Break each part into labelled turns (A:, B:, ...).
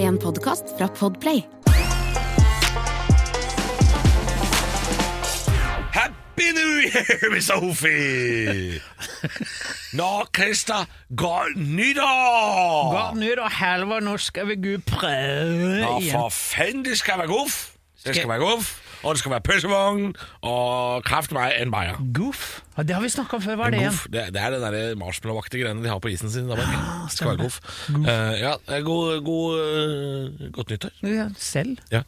A: en podkast fra Podplay.
B: Happy New Year, Miss Sophie! Nå, Christer, godt
C: Godt
B: nyttår!
C: nytt og halvår, nå skal vi gud prøve
B: Nå,
C: igjen.
B: for fanden, det skal være guff! Det skal
C: Skal-
B: være guff, og det skal være pølsevogn, og kraft meg en bayer.
C: Goof. Ja, det har vi snakka om før, hva er det igjen?
B: Guff, det, det er det der marshmallowaktige greiene de har på isen sin i Danmark. Det skal være guff. Eh, ja, eh, god, god eh, godt nyttår.
C: Ja, Selv?
B: Ja.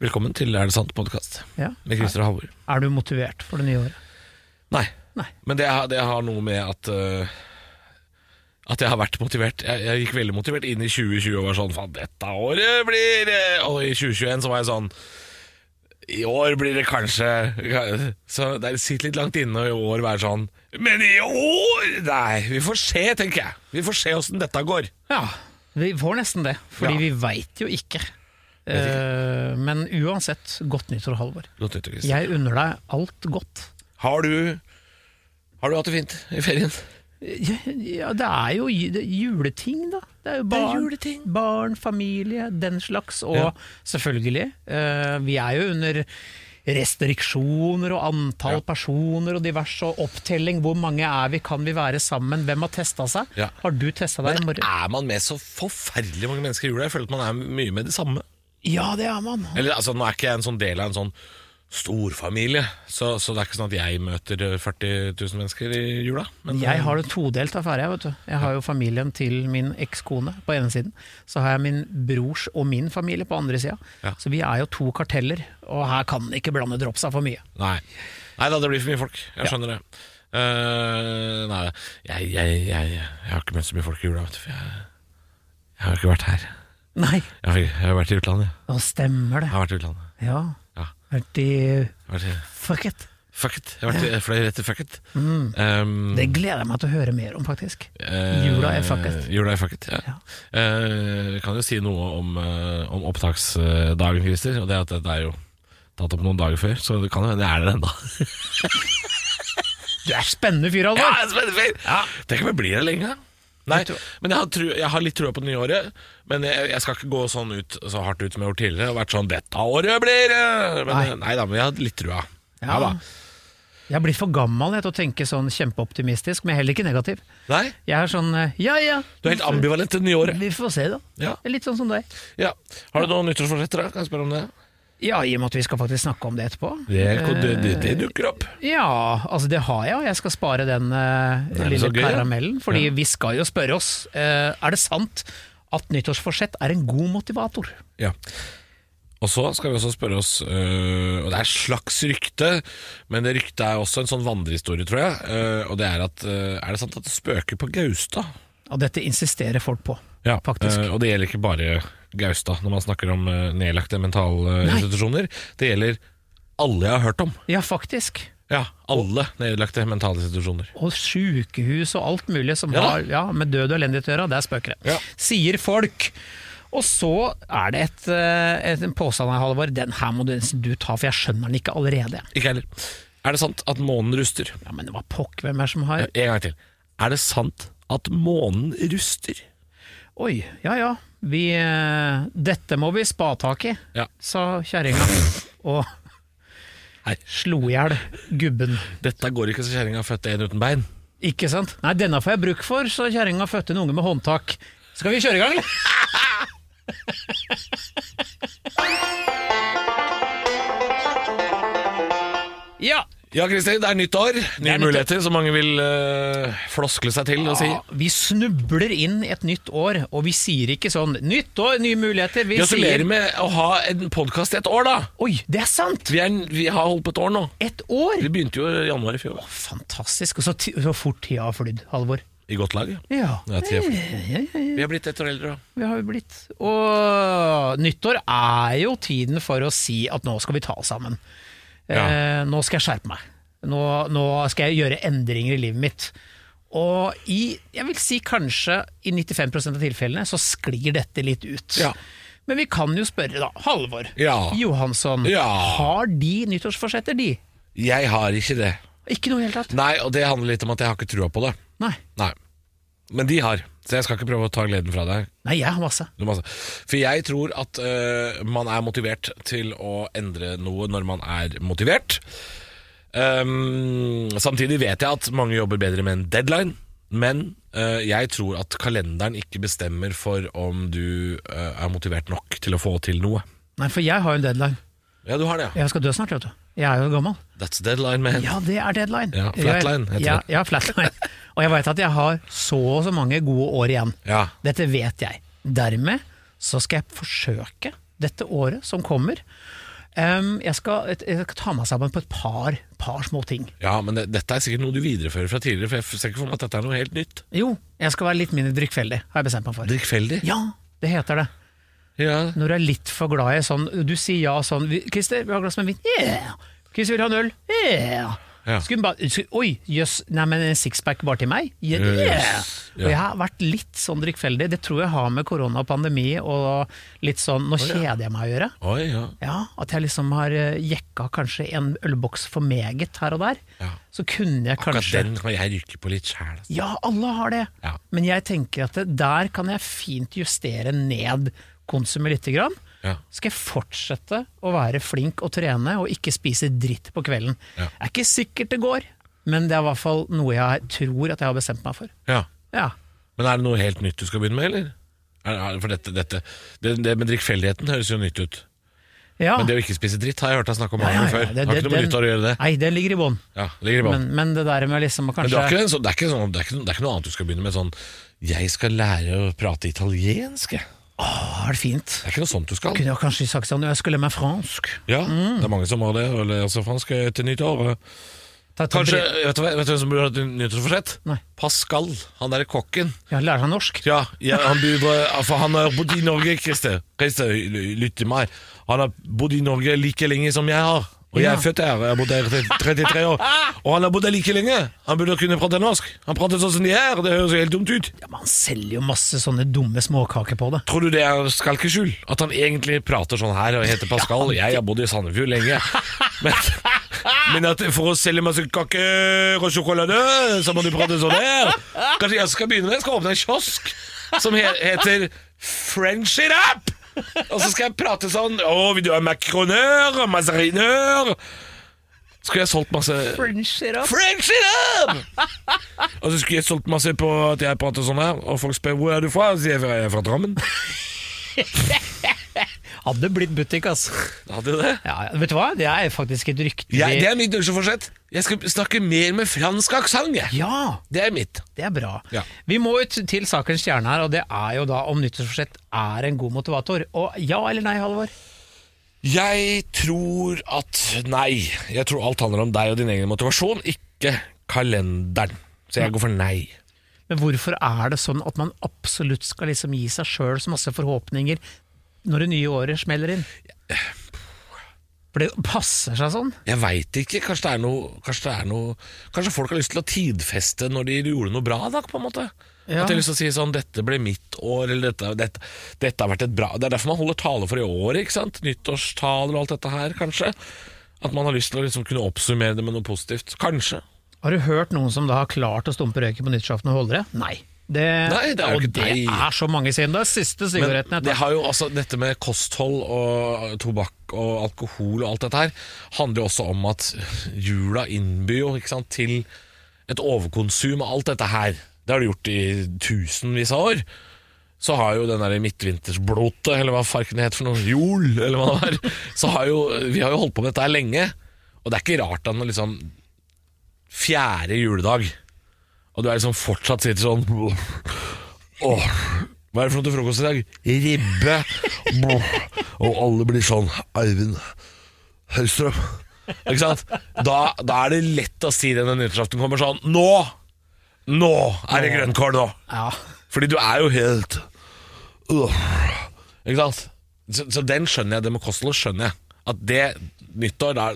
B: Velkommen til Er det sant-podkast
C: Ja.
B: med Christer og Halvor.
C: Er du motivert for det nye året?
B: Nei.
C: Nei.
B: Men det, har- det har noe med at øh, At jeg har vært motivert. Jeg, jeg gikk veldig motivert inn i 2020 og var sånn Faen, dette året blir det-" Og i 2021 så var jeg sånn I år blir det kanskje Så det sitter litt langt inne å i år være sånn Men i år? Nei, vi får se, tenker jeg. Vi får se åssen dette går.
C: Ja, vi får nesten det, fordi
B: Ja.
C: vi veit jo ikke. Eh, men uansett, godt nyttår, Halvor.
B: Godt nytt, Christer.
C: Jeg unner deg alt godt.
B: Har du Har du hatt det fint i ferien?
C: Ja, ja, det er jo ju- det er juleting, da. Det er jo
B: er
C: barn,
B: juleting.
C: barn familie, den slags. Og
B: Ja.
C: selvfølgelig, eh, vi er jo under restriksjoner og antall
B: Ja.
C: personer og diverse, og opptelling. Hvor mange er vi, kan vi være sammen, hvem har testa seg?
B: Ja.
C: Har du testa deg i
B: Men
C: morgen?
B: er man med så forferdelig mange mennesker i jula? Jeg føler at man er mye med de samme.
C: Ja, det er man.
B: Eller altså, nå er ikke jeg en sånn del av en sånn storfamilie, så, så det er ikke sånn at jeg møter eh, 40 000 mennesker i jula. Men
C: Jeg har det todelt affære. Jeg, vet du. jeg har jo familien til min ekskone på ene siden. Så har jeg min brors og min familie på andre sida.
B: Ja.
C: Så vi er jo to karteller, og her kan den ikke blande dropsa for mye.
B: Nei, nei da, det blir for mye folk. Jeg skjønner det. Eh, nei, jeg, jeg, jeg, jeg har ikke møtt så mye folk i jula, vet du, for jeg, jeg har jo ikke vært her.
C: Nei,
B: Jeg har, jeg har vært i utlandet.
C: nå stemmer
B: Jeg
C: det.
B: har vært i utlandet.
C: Ja.
B: Ja.
C: Vært i
B: Jeg har vært i,
C: Fuck it.
B: fuck it. Jeg, har vært i, jeg fløy rett til fuck it. Um,
C: Mm. Det gleder jeg meg til å høre mer om, faktisk.
B: Eh,
C: Jula er fuck it.
B: Jula er fuck it, ja.
C: Ja.
B: Eh, vi kan jo si noe om, eh, om opptaksdagen, Christer. Og det at det er jo tatt opp noen dager før, så det kan jo hende jeg er der ennå.
C: Du er spennende fyr, Alvor!
B: det er spennende fyr! Tenk om jeg blir der lenge. Nei, men jeg har, tru, jeg har litt trua på det nye året. Men jeg, jeg skal ikke gå sånn ut, så hardt ut som jeg har gjort tidligere og vært sånn 'Dette året blir det!' Men eh, nei.
C: Nei.
B: nei da, men jeg har litt trua. Ja, da.
C: Jeg er blitt for gammel jeg, til å tenke sånn kjempeoptimistisk, men heller ikke negativ.
B: Nei,
C: Jeg er sånn eh, ja ja,
B: du er helt ambivalent til det nye året.
C: vi får se, da.
B: Ja.
C: Det er Litt sånn som deg.
B: Ja. Har du noen nyttårsforsetter? da? Kan jeg spørre om det?
C: Ja, i og med at vi skal faktisk snakke om det etterpå.
B: Det, det, det, det
C: Eh,
B: dukker opp.
C: Ja, altså det har jeg, og jeg skal spare den eh,
B: Det er
C: lille
B: så gøy, ja.
C: karamellen. Fordi vi skal jo spørre oss eh, Er det sant at nyttårsforsett er en god motivator.
B: Ja. Og så skal vi også spørre oss øh, Og det er et slags rykte, men det ryktet er også en sånn vandrehistorie, tror jeg. øh, og det er at øh, Er det sant at det spøker på Gaustad?
C: Og dette insisterer folk på. Faktisk.
B: øh, og det gjelder ikke bare Gaustad når man snakker om øh, nedlagte mentalinstitusjoner. det gjelder alle jeg har hørt om.
C: Ja, faktisk.
B: Ja, alle nedlagte mentalinstitusjoner.
C: Og sykehus og alt mulig som
B: Ja da.
C: har ja, med død og elendighet å gjøre, det er spøkere.
B: Ja.
C: Sier folk. Og så er det et, eh, et, en påstand her, Halvor. Den her må du, du ta, for jeg skjønner den ikke allerede.
B: Ikke heller. Er det sant at månen ruster?
C: Ja, Men hva pokk, hvem er det som har
B: Ja, En gang til. Er det sant at månen ruster?
C: Oi, ja ja. Vi, eh, dette må vi spa tak i,
B: Ja.
C: sa kjerringa. Og
B: Nei.
C: slo i hjel gubben.
B: Dette går ikke så kjerringa fødte en uten bein.
C: Ikke sant? Nei, denne får jeg bruk for, så kjerringa fødte en unge med håndtak. Skal vi kjøre i gang, eller? ja.
B: Ja, Kristin, det er nytt år. Nye
C: er nytt
B: muligheter, som mange vil eh, floskle seg til å si.
C: ja. Vi snubler inn i et nytt år, og vi sier ikke sånn 'nytt år, nye muligheter'. Vi
B: Gratulerer
C: sier
B: med å ha en podkast i et år, da!
C: Oi, det er sant!
B: Vi, er, vi har holdt på et år nå.
C: Et år!
B: Vi begynte jo i januar i fjor.
C: Fantastisk. Og så, ti- så fort tida har flydd, Halvor.
B: I godt lag. ja.
C: Ja.
B: Ja, tida flyr.
C: ja, ja, ja,
B: Vi har blitt ett år eldre, da.
C: vi har jo blitt. Og nyttår er jo tiden for å si at nå skal vi ta oss sammen.
B: Ja.
C: Eh, nå skal jeg skjerpe meg. Nå, nå skal jeg gjøre endringer i livet mitt. Og i, jeg vil si kanskje i 95 av tilfellene så sklir dette litt ut.
B: Ja.
C: Men vi kan jo spørre, da. Halvor
B: Ja.
C: Johansson.
B: Ja.
C: Har de nyttårsforsetter, de?
B: Jeg har ikke det.
C: Ikke noe i det hele tatt?
B: Nei, og det handler litt om at jeg har ikke trua på det.
C: Nei.
B: Nei. Men de har. Så jeg skal ikke prøve å ta gleden fra deg.
C: Nei, jeg har masse.
B: Du må altså- For jeg tror at øh, man er motivert til å endre noe når man er motivert. Ehm, samtidig vet jeg at mange jobber bedre med en deadline. Men øh, jeg tror at kalenderen ikke bestemmer for om du øh, er motivert nok til å få til noe.
C: Nei, for jeg har jo en deadline.
B: Ja, du har det, ja.
C: Jeg skal dø snart, vet du. Jeg er jo gammel.
B: That's deadline, man.
C: Ja, det er deadline.
B: Ja, flatline heter
C: ja,
B: det.
C: Ja, flatline. Og jeg veit at jeg har så og så mange gode år igjen.
B: Ja.
C: Dette vet jeg. Dermed så skal jeg forsøke dette året som kommer. Ehm, jeg, skal, jeg skal ta meg sammen på et par, par små ting.
B: Ja, men det, dette er sikkert noe du viderefører fra tidligere, for jeg f- ser ikke for meg at dette er noe helt nytt.
C: Jo, jeg skal være litt mindre drikkfeldig, har jeg bestemt meg for.
B: Drikkfeldig?
C: Ja, det heter det.
B: Ja.
C: Når du er litt for glad i sånn Du sier ja sånn vi- 'Christer, vi har et glass med vin.' Yeah. 'Christer, vil du ha en øl?' Yeah.
B: Ja.
C: Skulle hun bare skulle- Oi, jøss. Nei, men en sixpack bare til meg? Yeah.
B: Yes, ja.
C: Og jeg har vært litt sånn drikkfeldig. Det tror jeg har med korona og pandemi og litt sånn 'nå kjeder jeg meg' å gjøre.
B: Oi, ja.
C: Ja, At jeg liksom har eh, jekka kanskje en ølboks for meget her og der.
B: Ja.
C: Så kunne jeg
B: Akkurat
C: kanskje
B: den kan jeg rykke på litt sjæl. altså.
C: ja, alle har det.
B: Ja.
C: Men jeg tenker at det, der kan jeg fint justere ned konsumet lite grann.
B: Ja.
C: Skal jeg fortsette å være flink og trene og ikke spise dritt på kvelden?
B: Ja.
C: Det er ikke sikkert det går, men det er i hvert fall noe jeg tror at jeg har bestemt meg for.
B: Ja.
C: Ja.
B: Men er det noe helt nytt du skal begynne med, eller? Er, er, for dette, dette det, det med drikkfeldigheten høres jo nytt ut.
C: ja.
B: Men det å ikke spise dritt har jeg hørt deg snakke om mange
C: Ah. Ja,
B: ganger
C: ja, ja,
B: før.
C: det-
B: har
C: det-
B: ikke noe med
C: den-
B: nytt å gjøre det.
C: Nei, den ligger i bånn.
B: Ja, det ligger i bånn.
C: Men, men det der med liksom å
B: Men
C: kanskje
B: du har ikke en sånn, det, er ikke sånn, det, er ikke, det er ikke noe annet du skal begynne med sånn Jeg skal lære å prate italiensk, jeg.
C: Å, er det fint?
B: Det er ikke noe sånt du skal.
C: Kunne jeg kanskje sagt sånn, jeg skulle lære meg fransk.
B: Ja,
C: Mm.
B: Det er mange som har det. Og lærer seg fransk til nytt år.
C: Ta- ta
B: Kanskje,
C: bre-
B: Vet du hva- vet du hvem som burde hatt nyttårsforsett?
C: Nei.
B: Pascal. Han derre kokken.
C: Ja, lære meg norsk.
B: Ja, ja, han burde For han har bodd i Norge, Christer. Christer, l- lytt til meg. Han har bodd i Norge like lenge som jeg har. Og jeg
C: Ja.
B: er født her. Jeg har bodd her i 33 år. Og han har bodd her like lenge. Han burde kunne prate norsk. Han prater sånn som de er. Det høres jo helt dumt ut.
C: Ja, men han selger jo masse sånne dumme småkaker på det.
B: Tror du det er skalkeskjul? At han egentlig prater sånn her og heter Pascal? Jeg har bodd i Sandefjord lenge. Men, men at for å selge masse kaker og sjokolade, så må du prate sånn her. Kanskje jeg skal begynne med Jeg skal åpne en kiosk som he heter French it up! Og så skal jeg prate sånn Å, vil du ha macronør? Mazarinør? Skulle jeg solgt masse
C: French syrup.
B: French it up! Og så skulle jeg solgt masse på at jeg prater sånn her, og folk spør hvor er du fra, og så sier jeg jeg er fra Drammen.
C: Hadde blitt butikk, altså.
B: Hadde det?
C: Ja, ja, vet du hva? Det er faktisk et rykte. vi-
B: Jeg, det er mitt nyttårsforsett. Jeg skal snakke mer med fransk aksent, jeg.
C: Ja,
B: Det er mitt.
C: det er bra.
B: Ja.
C: Vi må ut til sakens kjerne her, og det er jo da om nyttårsforsett er en god motivator. Og ja eller nei, Halvor?
B: Jeg tror at Nei. Jeg tror alt handler om deg og din egen motivasjon, ikke kalenderen. Så jeg går for nei.
C: Men hvorfor er det sånn at man absolutt skal liksom gi seg sjøl så masse forhåpninger når det nye året smeller inn? For det passer seg sånn.
B: Jeg veit ikke. Kanskje det, er noe, kanskje det er noe Kanskje folk har lyst til å tidfeste når de gjorde noe bra, da, på en måte.
C: Ja.
B: At de har lyst til å si sånn 'Dette ble mitt år', eller dette, dette, 'Dette har vært et bra Det er derfor man holder tale for i året, ikke sant? Nyttårstaler og alt dette her, kanskje. At man har lyst til å liksom kunne oppsummere det med noe positivt. Kanskje.
C: Har du hørt noen som da har klart å stumpe røyken på nyttårsaften og holde det? Nei. Det,
B: Nei, det er jo
C: og
B: ikke
C: det
B: deg.
C: er så mange siden. Det er siste
B: Men
C: sigaretten jeg
B: det
C: tar.
B: har jo altså dette med kosthold og tobakk og alkohol og alt dette her, handler jo også om at jula innbyr jo ikke sant, til et overkonsum av alt dette her. Det har det gjort i tusenvis av år. Så har jo den der midtvintersblotet, eller hva farken det heter for noe, jul, eller hva det var, så har jo, vi har jo holdt på med dette her lenge. Og det er ikke rart at når liksom fjerde juledag, og du er liksom fortsatt sitter sånn Åh, hva er det for noe til frokost i dag? Ribbe. Brr. Og alle blir sånn Eivind Hellstrøm. Ikke sant? Da, da er det lett å si det når nyttårsaften kommer sånn Nå! Nå er det grønnkål nå!
C: Ja.
B: Fordi du er jo helt Åh. Ikke sant? Så, så den skjønner jeg, det med kosthold skjønner jeg. At det nyttår, da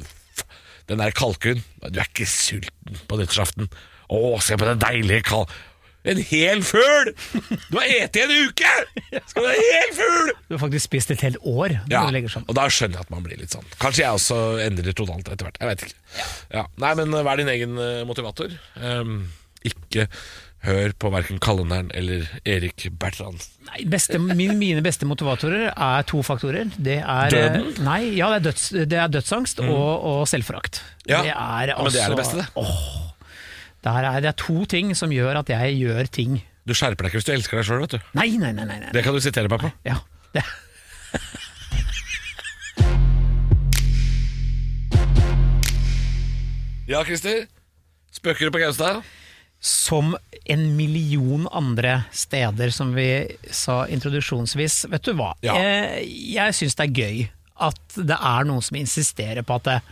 B: Den der kalkun Du er ikke sulten på nyttårsaften. Å, se på den deilige kal... En hel fugl! Du har spist i en uke! Skal du ha en hel fugl?
C: Du har faktisk spist et helt år. når
B: Ja,
C: du legger sammen.
B: og da skjønner jeg at man blir litt sånn. Kanskje jeg også endrer totalt etter øh, hvert. Jeg vet Ehm, ikke. Ja. Nei, men vær din egen eh, motivator. Um, ikke Hør på verken kalenderen eller Erik Bertrand.
C: Nei, beste, min, mine beste motivatorer er to faktorer. Det er, eh,
B: Døden? Mm.
C: Nei, ja, det er, døds, det er dødsangst og, og selvforakt.
B: Ja,
C: det er altså-
B: men det er det beste, det.
C: Åh, det, her er, det er to ting som gjør at jeg gjør ting.
B: Du skjerper deg ikke hvis du elsker deg sjøl, vet du.
C: Nei, nei, nei. nei, nei.
B: Det kan du sitere meg på.
C: Ja, det.
B: Ja, Christer. Spøker du på Gaustad?
C: Som en million andre steder, som vi sa introduksjonsvis. Vet du hva,
B: Ja.
C: eh, jeg syns det er gøy at det er noen som insisterer på at det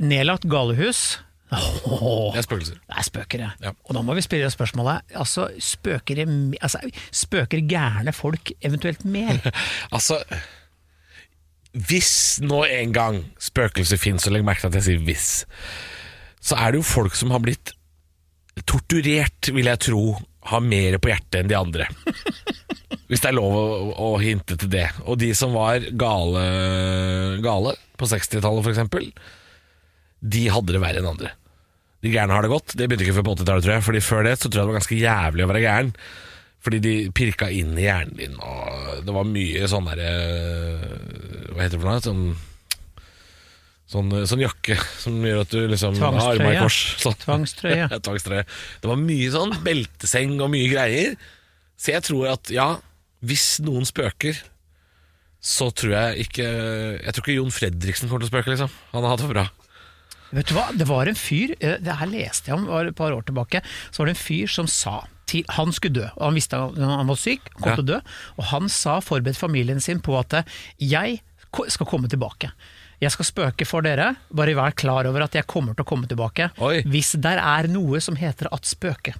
C: nedlagt galehus Åh,
B: Det er spøkelser.
C: Det er spøkere.
B: Ja.
C: Og da må vi spørre spørsmålet altså, spøker, det- altså, spøker gærne folk eventuelt mer?
B: Altså Hvis nå en gang spøkelser fins, og legg merke til at jeg sier hvis, så er det jo folk som har blitt torturert, vil jeg tro, har mer på hjertet enn de andre. Hvis det er lov å, å hinte til det. Og de som var gale, gale på 60-tallet f.eks., de hadde det verre enn andre. De gærne har det godt. Det begynte ikke før på 80-tallet, tror jeg. Fordi før det så tror jeg det var ganske jævlig å være gæren. Fordi de pirka inn i hjernen din, og det var mye sånn derre Hva heter det for noe? Sånn, sånn, sånn jakke som gjør at du liksom har arma i
C: Tvangstrøye.
B: kors. Sånn.
C: Tvangstrøye.
B: Ja, tvangstrøye. Det var mye sånn belteseng og mye greier. Så jeg tror at, ja, hvis noen spøker, så tror jeg ikke Jeg tror ikke Jon Fredriksen kommer til å spøke, liksom. Han har hatt det for bra.
C: Vet du hva, det var en fyr, eh, det her leste jeg om var et par år tilbake, så var det en fyr som sa til, han skulle dø, og han visste han, han var syk, han kom
B: Ja.
C: til å dø, og han sa forberedt familien sin på at eh, jeg ko- skal komme tilbake. Jeg skal spøke for dere, bare vær klar over at jeg kommer til å komme tilbake.
B: Oi.
C: Hvis der er noe som heter at spøke.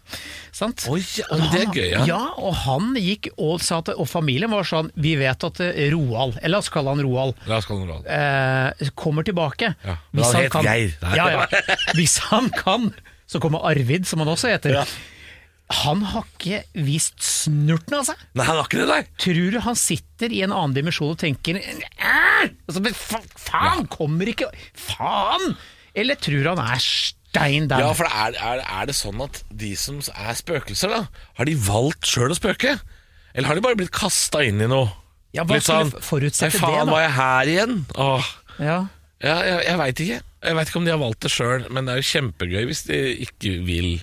C: Sant?
B: Oi, ja, men
C: Og
B: det er
C: han-
B: gøy, ja.
C: ja, og han gikk og sa at, og familien var sånn, vi vet at eh, Roald, eller la oss kalle han Roald,
B: La oss kalle ham Roald.
C: eh, kommer tilbake.
B: Ja, men han het Geir. Nei.
C: Ja, ja. Hvis han kan, så kommer Arvid, som han også heter. Han har ikke vist snurten av seg.
B: Nei, han har ikke det, nei!
C: Tror du han sitter i en annen dimensjon og tenker «Æ!» altså, men fa Faen, kommer ikke Faen! Eller tror han er stein der?
B: Ja, for det er, er, er det sånn at de som er spøkelser, da, har de valgt sjøl å spøke? Eller har de bare blitt kasta inn i noe?
C: Ja, hva skulle forutsette
B: Nei, faen,
C: det, da?»
B: var jeg her igjen? Åh.
C: Ja.
B: Ja, jeg, jeg veit ikke. Jeg veit ikke om de har valgt det sjøl, men det er jo kjempegøy hvis de ikke vil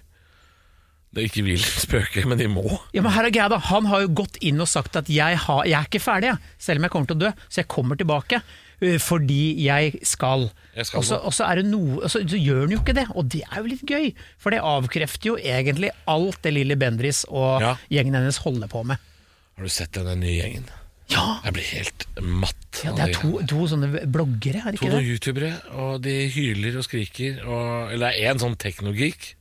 B: De ikke vil spøke, men de må.
C: Ja, men her er greia da, Han har jo gått inn og sagt at jeg, har, 'jeg er ikke ferdig, jeg, selv om jeg kommer til å dø', så jeg kommer tilbake eh, fordi jeg skal.
B: Jeg skal
C: og
B: nå.
C: så, og så, er det noe, og så, så gjør han jo ikke det, og det er jo litt gøy. For det avkrefter jo egentlig alt det Lilly Bendriss og
B: Ja.
C: gjengen hennes holder på med.
B: Har du sett den nye gjengen?
C: Ja,
B: Jeg blir helt matt.
C: ja
B: av
C: Det er
B: de
C: to, to sånne bloggere, er det
B: To
C: ikke
B: noen
C: det?
B: youtubere, og de hyler og skriker. Og, eller det er én sånn teknogeek,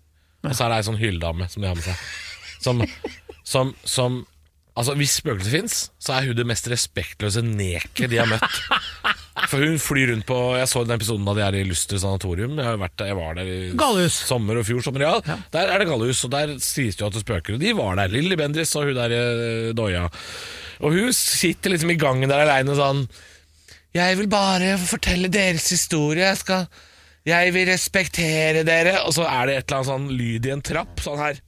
B: og så er det ei sånn hylledame som de har med seg. Som, som, som Altså, hvis spøkelser fins, så er hun det mest respektløse neket de har møtt. For hun flyr rundt på Jeg så den episoden da de er i Luster sanatorium. Jeg, har vært der, jeg var der i
C: Galehus.
B: sommer og fjor sommer. Ja. Der er det gallehus, og der sies det jo at det spøker. Og de var der. Lilly Bendriss og hun der eh, Doya. Og hun sitter liksom i gangen der aleine sånn jeg vil bare fortelle deres historie. Jeg, skal, jeg vil respektere dere. Og så er det et eller annet sånn lyd i en trapp, sånn her.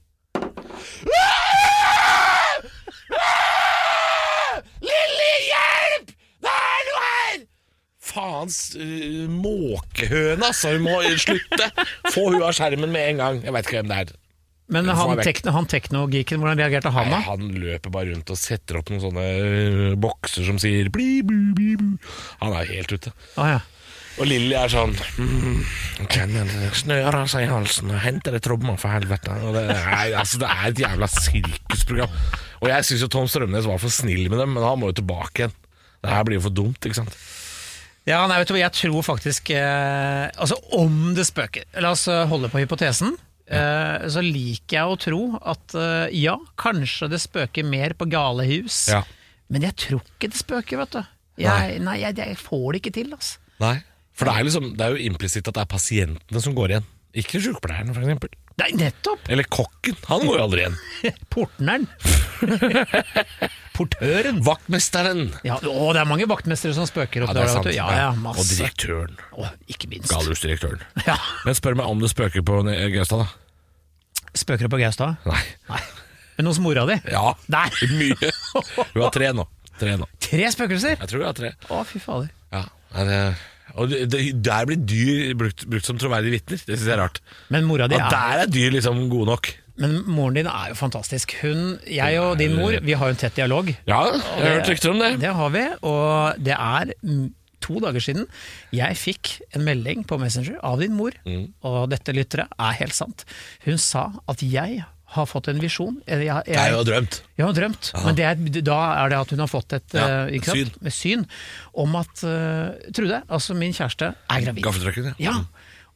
B: Lille hjelp! Det er noe her! Faens eh, måkehøne, altså. Hun må slutte. Få hun av skjermen med en gang. Jeg veit ikke hvem det er.
C: Men
B: Få
C: han,
B: meg vekk.
C: tekno, han teknogeeken, hvordan reagerte han
B: Nei,
C: da?
B: han løper bare rundt og setter opp noen sånne eh, bokser som sier bli, bu, bli, bu. Han er helt ute.
C: Ah, ja.
B: Og Lilly er sånn mm, Kjenner det snører seg i halsen og henter det tromma, for helvete. Og det, er, altså, det er et jævla sirkusprogram. Og jeg syns jo Tom Strømnes var for snill med dem, men han må jo tilbake igjen. Det her blir jo for dumt, ikke sant.
C: Ja, nei, vet du hva, jeg tror faktisk eh, Altså, om det spøker La oss eh, holde på hypotesen. Eh, så liker jeg å tro at eh, ja, kanskje det spøker mer på gale hus.
B: Ja.
C: Men jeg tror ikke det spøker, vet du. Jeg, nei, jeg, jeg får det ikke til, altså.
B: Nei. For det er, liksom, det er jo implisitt at det er pasientene som går igjen. Ikke sykepleieren, for eksempel.
C: Nei, nettopp!
B: Eller kokken. Han går jo aldri igjen.
C: Portneren.
B: Portøren. Vaktmesteren.
C: Ja, å, det er mange vaktmestere som spøker opp
B: Ja, det er
C: der,
B: sant.
C: vet du. Ja, ja,
B: Og
C: masse.
B: direktøren.
C: Å, ikke minst.
B: Galehusdirektøren.
C: Ja.
B: Men spør meg om det spøker på Gaustad, da.
C: Spøker du på Gaustad?
B: Nei.
C: Nei. Men hos mora di?
B: Ja,
C: Nei!
B: mye. Hun har tre nå. Tre nå.
C: Tre spøkelser!
B: Jeg tror hun har tre.
C: Å, fy fader.
B: Ja, nei, det, og det, det, der blir dyr brukt, brukt som troverdige vitner. Det syns jeg er rart.
C: Men mora di
B: At
C: er
B: der er dyr liksom gode nok.
C: Men moren din er jo fantastisk. Hun, jeg og din mor, vi har jo en tett dialog.
B: Ja, jeg har hørt rykter om det.
C: Det har vi, og det er mm, to dager siden jeg fikk en melding på Messenger av din mor,
B: Mm.
C: og dette lyttere er helt sant. Hun sa at jeg har fått en visjon. eller Jeg,
B: Jeg
C: jeg,
B: har jo drømt.
C: jeg har drømt, men det er, da er det at hun har fått et
B: Ja,
C: eh, ikke sant?
B: syn.
C: Med syn om at eh, Trude, altså min kjæreste, er gravid.
B: Gaffeltrøkken, ja.
C: Ja,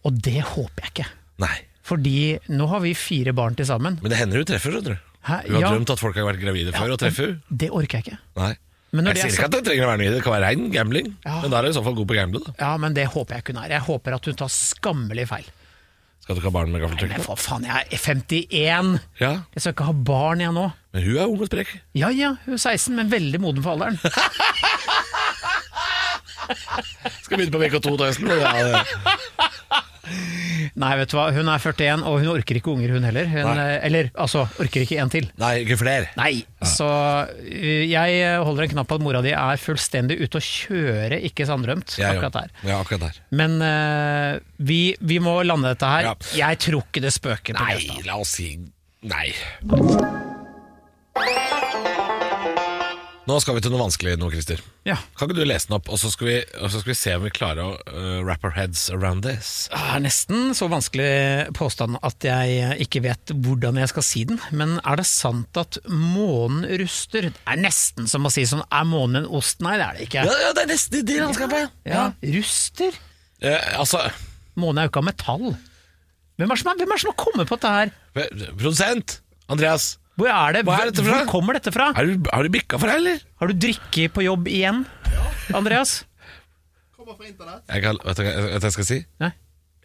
C: og det håper jeg ikke.
B: Nei.
C: Fordi nå har vi fire barn til sammen.
B: Men det hender hun treffer, skjønner du.
C: Hæ?
B: Hun har
C: Ja.
B: drømt at folk har vært gravide før, og treffer hun.
C: Det orker jeg ikke.
B: Nei.
C: Men når
B: Jeg
C: det er
B: sier ikke at det trenger å være noe i det. Det kan være rein gambling.
C: Ja.
B: Men da er du i så fall god på å gamble, da.
C: Ja, men det håper jeg ikke hun er. Jeg håper at hun tar skammelig feil.
B: Skal du ikke ha barn med
C: Men
B: gaffeltrøkken?
C: for faen, jeg er 51!
B: Ja.
C: Jeg skal ikke ha barn, jeg nå.
B: Men hun er ung og sprek.
C: Ja ja, hun er 16, men veldig moden for alderen.
B: Skal begynne på VK2 til høsten. og det er-
C: Nei, vet du hva, hun er 41, og hun orker ikke unger, hun heller. Hun,
B: Nei.
C: eh, eller altså, orker ikke en til.
B: Nei, ikke flere.
C: Nei, så ø, jeg holder en knapp på at mora di er fullstendig ute å kjøre, ikke sanndrømt,
B: Jeg
C: akkurat
B: gjør.
C: der.
B: Ja, akkurat der.
C: Men ø, vi, vi må lande dette her.
B: Ja.
C: Jeg tror ikke det spøker på Gaustad.
B: Nei, la oss si nei. Nå skal vi til noe vanskelig nå, Christer.
C: Ja.
B: Kan ikke du lese den opp, og så skal vi, og så skal vi se om vi klarer å eh, wrap our heads around this?
C: Det er nesten så vanskelig påstand at jeg ikke vet hvordan jeg skal si den, men er det sant at månen ruster? Det er nesten som å si sånn, er månen en ost? Nei, det er det ikke.
B: det er nesten i det landskapet.
C: Ja, ruster?
B: Eh, altså,
C: Månen er jo ikke av metall. Hvem er, det som, hvem er det som har kommet på dette her?
B: produsent Andreas,
C: Hvor er det?
B: Hva er dette fra?
C: Hvor kommer dette fra?
B: er du, har du bikka for deg, eller?
C: Har du drikke på jobb igjen, Andreas?
A: Kommer fra internett.
B: Jeg kan, vet du hva jeg- vet du hva jeg skal si?
C: Nei.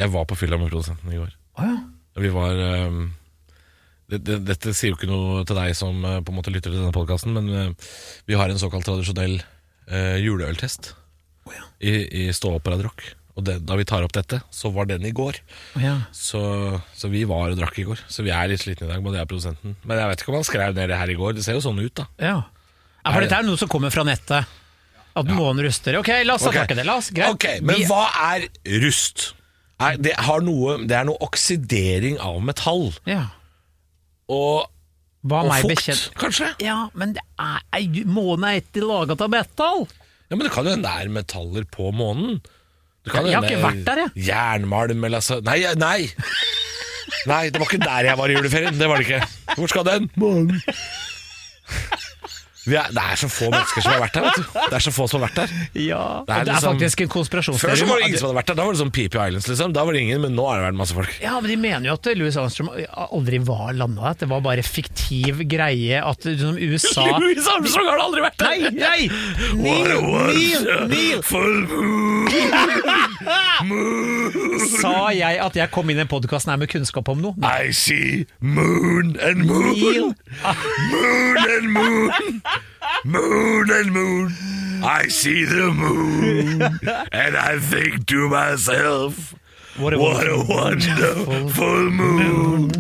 B: Jeg var på fylla med produsenten i går.
C: Å ja.
B: Vi var ehm, det, det, Dette sier jo ikke noe til deg som eh, på en måte lytter til denne podkasten, men eh, vi har en såkalt tradisjonell eh, juleøltest i, i Stå opp og Rad Rock. Og det, da vi tar opp dette, så var den i går.
C: Å ja.
B: Så, så vi var og drakk i går. Så vi er litt slitne i dag, både jeg og produsenten. Men jeg vet ikke om han skrev ned det her i går. Det ser jo sånn ut, da.
C: Ja. ja for dette er noe som kommer fra nettet. At månen ruster. Ok, la oss ta
B: Ok.
C: tak i det. La oss, greit.
B: Ok, men
C: Vi-
B: hva er rust? Er, det, har noe, det er noe oksidering av metall.
C: Ja.
B: Og,
C: Hva
B: og
C: meg
B: fukt,
C: bekjent-
B: kanskje?
C: Ja, men det er, ei- månen er ikke laget av metall.
B: Ja, men det kan jo hende det er metaller på månen. Det kan
C: Jeg har
B: hende
C: ikke vært der, jeg.
B: Jernmalm eller altså Nei, nei! Nei, det var ikke der jeg var i juleferien. Det var det ikke. Hvor skal den? Månen. Vi er, det er så få mennesker som har vært der, vet du. Det er så få som har vært der.
C: Ja,
B: Det er
C: det er
B: liksom-
C: faktisk en
B: Før
C: konspirasjonsteori.
B: så var det ingen som hadde vært der. Da var det sånn Peepy Islands, liksom. Da var det ingen, men nå har det vært masse folk.
C: Ja, men De mener jo at Louis Armstrong aldri var landa der. at Det var bare fiktiv greie at liksom, USA
B: Louis Armstrong har det aldri vært
C: Nei, nei!
B: What was
C: Neil,
B: a
C: Neil!
B: full moon.
C: Sa jeg at jeg kom inn i den podkasten her med kunnskap om noe? Nei.
B: I see moon and moon.
C: Neil.
B: Moon and moon. Moon and moon. I see the moon. And I think to myself
C: What a
B: wonderful moon.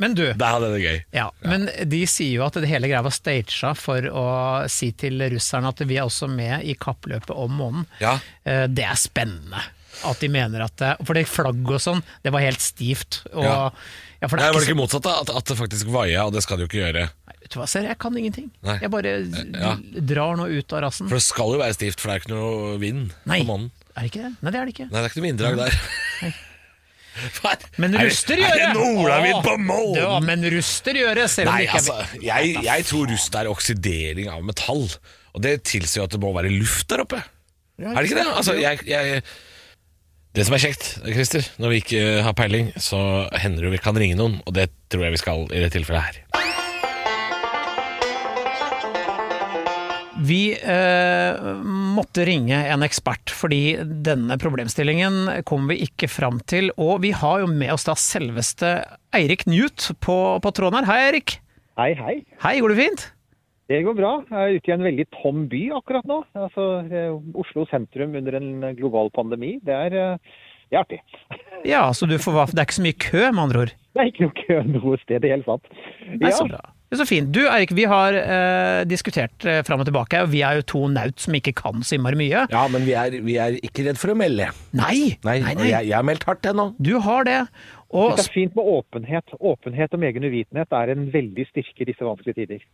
C: Men du,
B: Der hadde jeg det gøy.
C: ja, men de sier jo at det hele greia var staged for å si til russerne at vi er også med i kappløpet om månen.
B: Ja.
C: Eh, Det er spennende. At de mener at det, For det flagget og sånn, det var helt stivt. Og, ja.
B: Ja.
C: for det
B: Nei,
C: er
B: var det
C: ikke,
B: ikke motsatt, da? At, at det faktisk vaia, og det skal det jo ikke gjøre.
C: så- Vet du hva, ser jeg, jeg kan ingenting.
B: Nei. Eh,
C: Jeg bare
B: ja.
C: drar nå ut av rassen.
B: For det skal jo være stivt, for det er ikke noe vind
C: Nei,
B: på månen.
C: er det ikke det? Nei, det er det ikke.
B: Nei, det er ikke noe vinddrag der. Hva er-
C: Men
B: er det-
C: ruster gjør
B: Er det en olavind på månen?
C: Ja, men ruster gjør det, selv om
B: Nei,
C: det ikke
B: altså,
C: er
B: jeg, jeg tror rust er oksidering av metall. Og det tilsier jo at det må være luft der oppe. er det ikke det? Altså, jeg, jeg, det som er kjekt, Christer, når vi ikke eh, har peiling, så hender det vi kan ringe noen, og det tror jeg vi skal i det tilfellet her.
C: Vi eh, måtte ringe en ekspert, fordi denne problemstillingen kom vi ikke fram til. Og vi har jo med oss da selveste Eirik Newt på, på tråden her. Hei, Eirik.
D: Hei, hei.
C: Hei, går det fint?
D: Det går bra. Jeg er ute i en veldig tom by akkurat nå. Altså, eh, Oslo sentrum under en global pandemi. Det er eh, Det er artig.
C: Ja, så du får, hva- det er ikke så mye kø, med andre ord.
D: Det er ikke noe kø noe sted, det er helt sant.
C: Nei,
D: Ja,
C: så bra. Det er så fint. Du Eirik, vi har eh, diskutert eh, fram og tilbake, og vi er jo to naut som ikke kan så innmari mye.
B: Ja, men vi er, vi er ikke redd for å melde.
C: Nei!
B: Nei, og Jeg, jeg har meldt hardt ennå.
C: Du har det. Og
D: det er fint med åpenhet. Åpenhet om egen uvitenhet er en veldig styrke i disse vanskelige tider.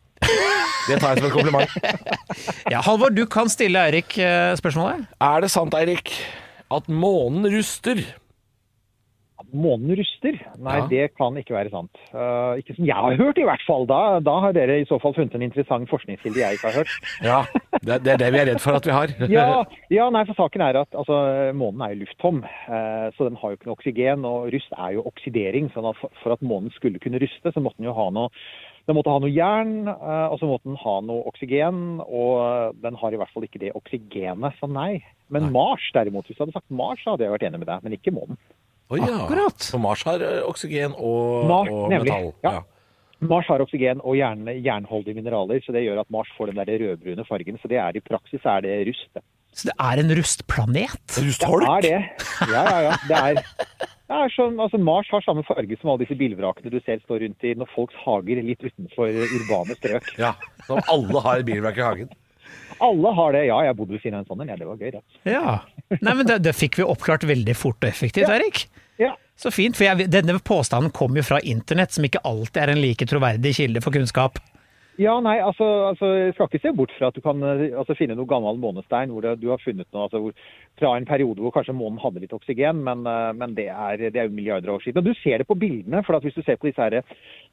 B: Det tar jeg som en kompliment.
C: ja, Halvor, du kan stille Eirik eh, spørsmålet.
B: Er det sant, Eirik, at månen ruster?
D: At Månen ruster? Nei,
B: Ja.
D: det kan ikke være sant. Eh, ikke som jeg har hørt, i hvert fall. Da, da har dere i så fall funnet en interessant forskningskilde jeg ikke har hørt.
B: Ja, det, det er det vi er redd for at vi har.
D: Ja, ja, nei, for saken er at altså, månen er jo lufttom, eh, så den har jo ikke noe oksygen. Og rust er jo oksidering, så for- for at månen skulle kunne ruste, så måtte den jo ha noe den måtte ha noe jern, eh, og så måtte den ha noe oksygen, og eh, den har i hvert fall ikke det oksygenet, så nei. Men Mars derimot, hvis du hadde sagt Mars, så hadde jeg vært enig med deg, men ikke månen.
B: Oi, ja.
C: Akkurat.
B: Så Mars har ø, oksygen og,
D: Mars,
B: og
D: nemlig.
B: metall.
D: Ja. Mars har oksygen og jern, jernholdige mineraler, så det gjør at Mars får den der rødbrune fargen. Så det er i praksis er det rust. det.
C: Så det er en rustplanet?
D: Det
B: Rustholk?
D: er det. Ja, ja, ja. Det er, det er som, altså Mars har samme farge som alle disse bilvrakene du ser står rundt i når folks hager litt utenfor urbane strøk.
B: Ja, som alle har et bilverk i hagen.
D: Alle har det. Ja, jeg bodde ved siden av en sånn en. Ja, det var gøy, det.
C: Ja. Nei, men det, det fikk vi oppklart veldig fort og effektivt, Eirik.
D: Ja.
C: Så fint, for jeg, denne påstanden kom jo fra internett, som ikke alltid er en like troverdig kilde for kunnskap.
D: ja, nei, altså, altså jeg skal ikke se bort fra at du kan eh, altså, finne noe gammel månestein hvor det, du har funnet noe altså, hvor, fra en periode hvor kanskje månen hadde litt oksygen, men, eh, men det, er, det er jo milliarder av år siden. Og du ser det på bildene, for at hvis du ser på disse her eh,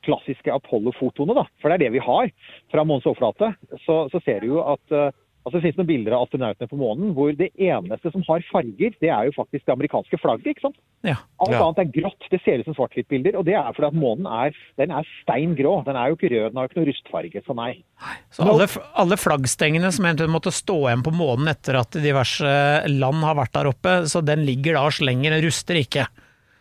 D: klassiske Apollo-fotoene, da, for det er det vi har fra månens overflate, så, så ser du jo at eh, Altså, det finnes noen bilder av astronautene på månen hvor det eneste som har farger, det er jo faktisk det amerikanske flagget. ikke sant?
C: Ja.
D: Alt
B: Ja.
D: annet er grått. Det ser ut som svart-hvitt-bilder. Og det er fordi at månen er, den er stein grå. Den er jo ikke rød, den har jo ikke noe rustfarge. Så nei.
C: Så alle, alle flaggstengene som eventuelt måtte stå igjen på månen etter at diverse land har vært der oppe, så den ligger da og slenger, den ruster ikke.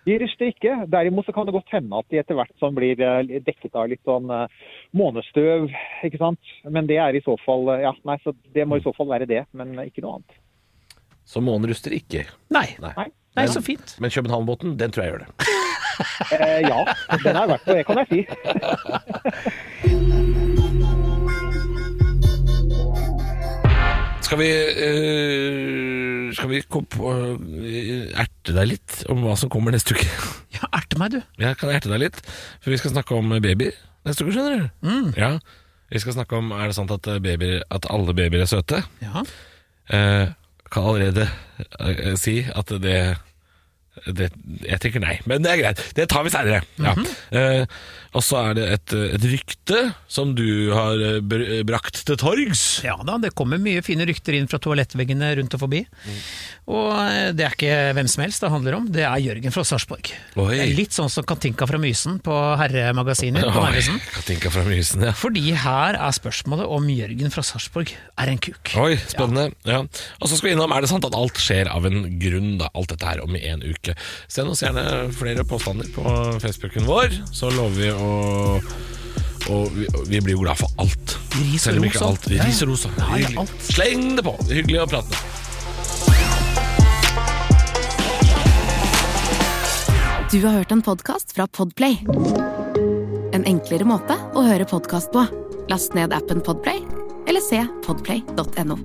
D: De ruster ikke. Derimot så kan det godt hende at de etter hvert sånn blir eh, dekket av litt sånn eh, månestøv, ikke sant. Men det er i så fall eh, Ja, nei, så det må i så fall være det, men ikke noe annet.
B: Så månen ruster ikke.
C: Nei.
B: Nei.
D: Nei.
C: Nei, så fint.
B: Men København-båten, den tror jeg gjør det.
D: Eh, ja, den er verdt det, kan jeg si.
B: Skal vi, ø, skal vi kom- ø, erte deg litt om hva som kommer neste uke?
C: Ja, erte meg, du.
B: Ja, kan jeg erte deg litt? For vi skal snakke om babyer neste uke, skjønner du.
D: Mm.
B: Ja, vi skal snakke om er det sant at, eh, babyer, at alle babyer er søte.
C: Ja.
B: Eh, kan allerede eh, si at det, det Jeg tenker nei, men det er greit. Det tar vi seinere. Ja. Eh, og så er det et, eh, et rykte som du har eh, br eh, brakt til torgs.
C: Ja da, det kommer mye fine rykter inn fra toalettveggene rundt og forbi. Og eh, det er ikke hvem som helst det handler om, det er Jørgen fra Sarpsborg.
B: Oi.
C: Det er Litt sånn som Katinka fra Mysen på herremagasinet på
B: Oi,
C: Narvesen.
B: Katinka fra Mysen, ja.
C: Fordi her er spørsmålet om Jørgen fra Sarpsborg er en kuk.
B: Oi, spennende. Ja. Og så skal vi innom er det sant at alt skjer av en grunn, da. Alt dette her om en uke. Send oss gjerne flere påstander på Facebooken vår, så lover vi å og vi, vi blir jo glad for alt.
C: Ris og
B: Selv om
C: ros
B: ikke
C: og
B: alt.
C: alt. Ja, ja.
B: Ris og ros. og-
C: Ja, ja,
B: Hyggelig.
C: alt.
B: Sleng det på! Hyggelig å prate med.
E: Du har hørt en podcast fra Podplay En enklere måte å høre podcast på Last ned appen Podplay Eller se podplay.no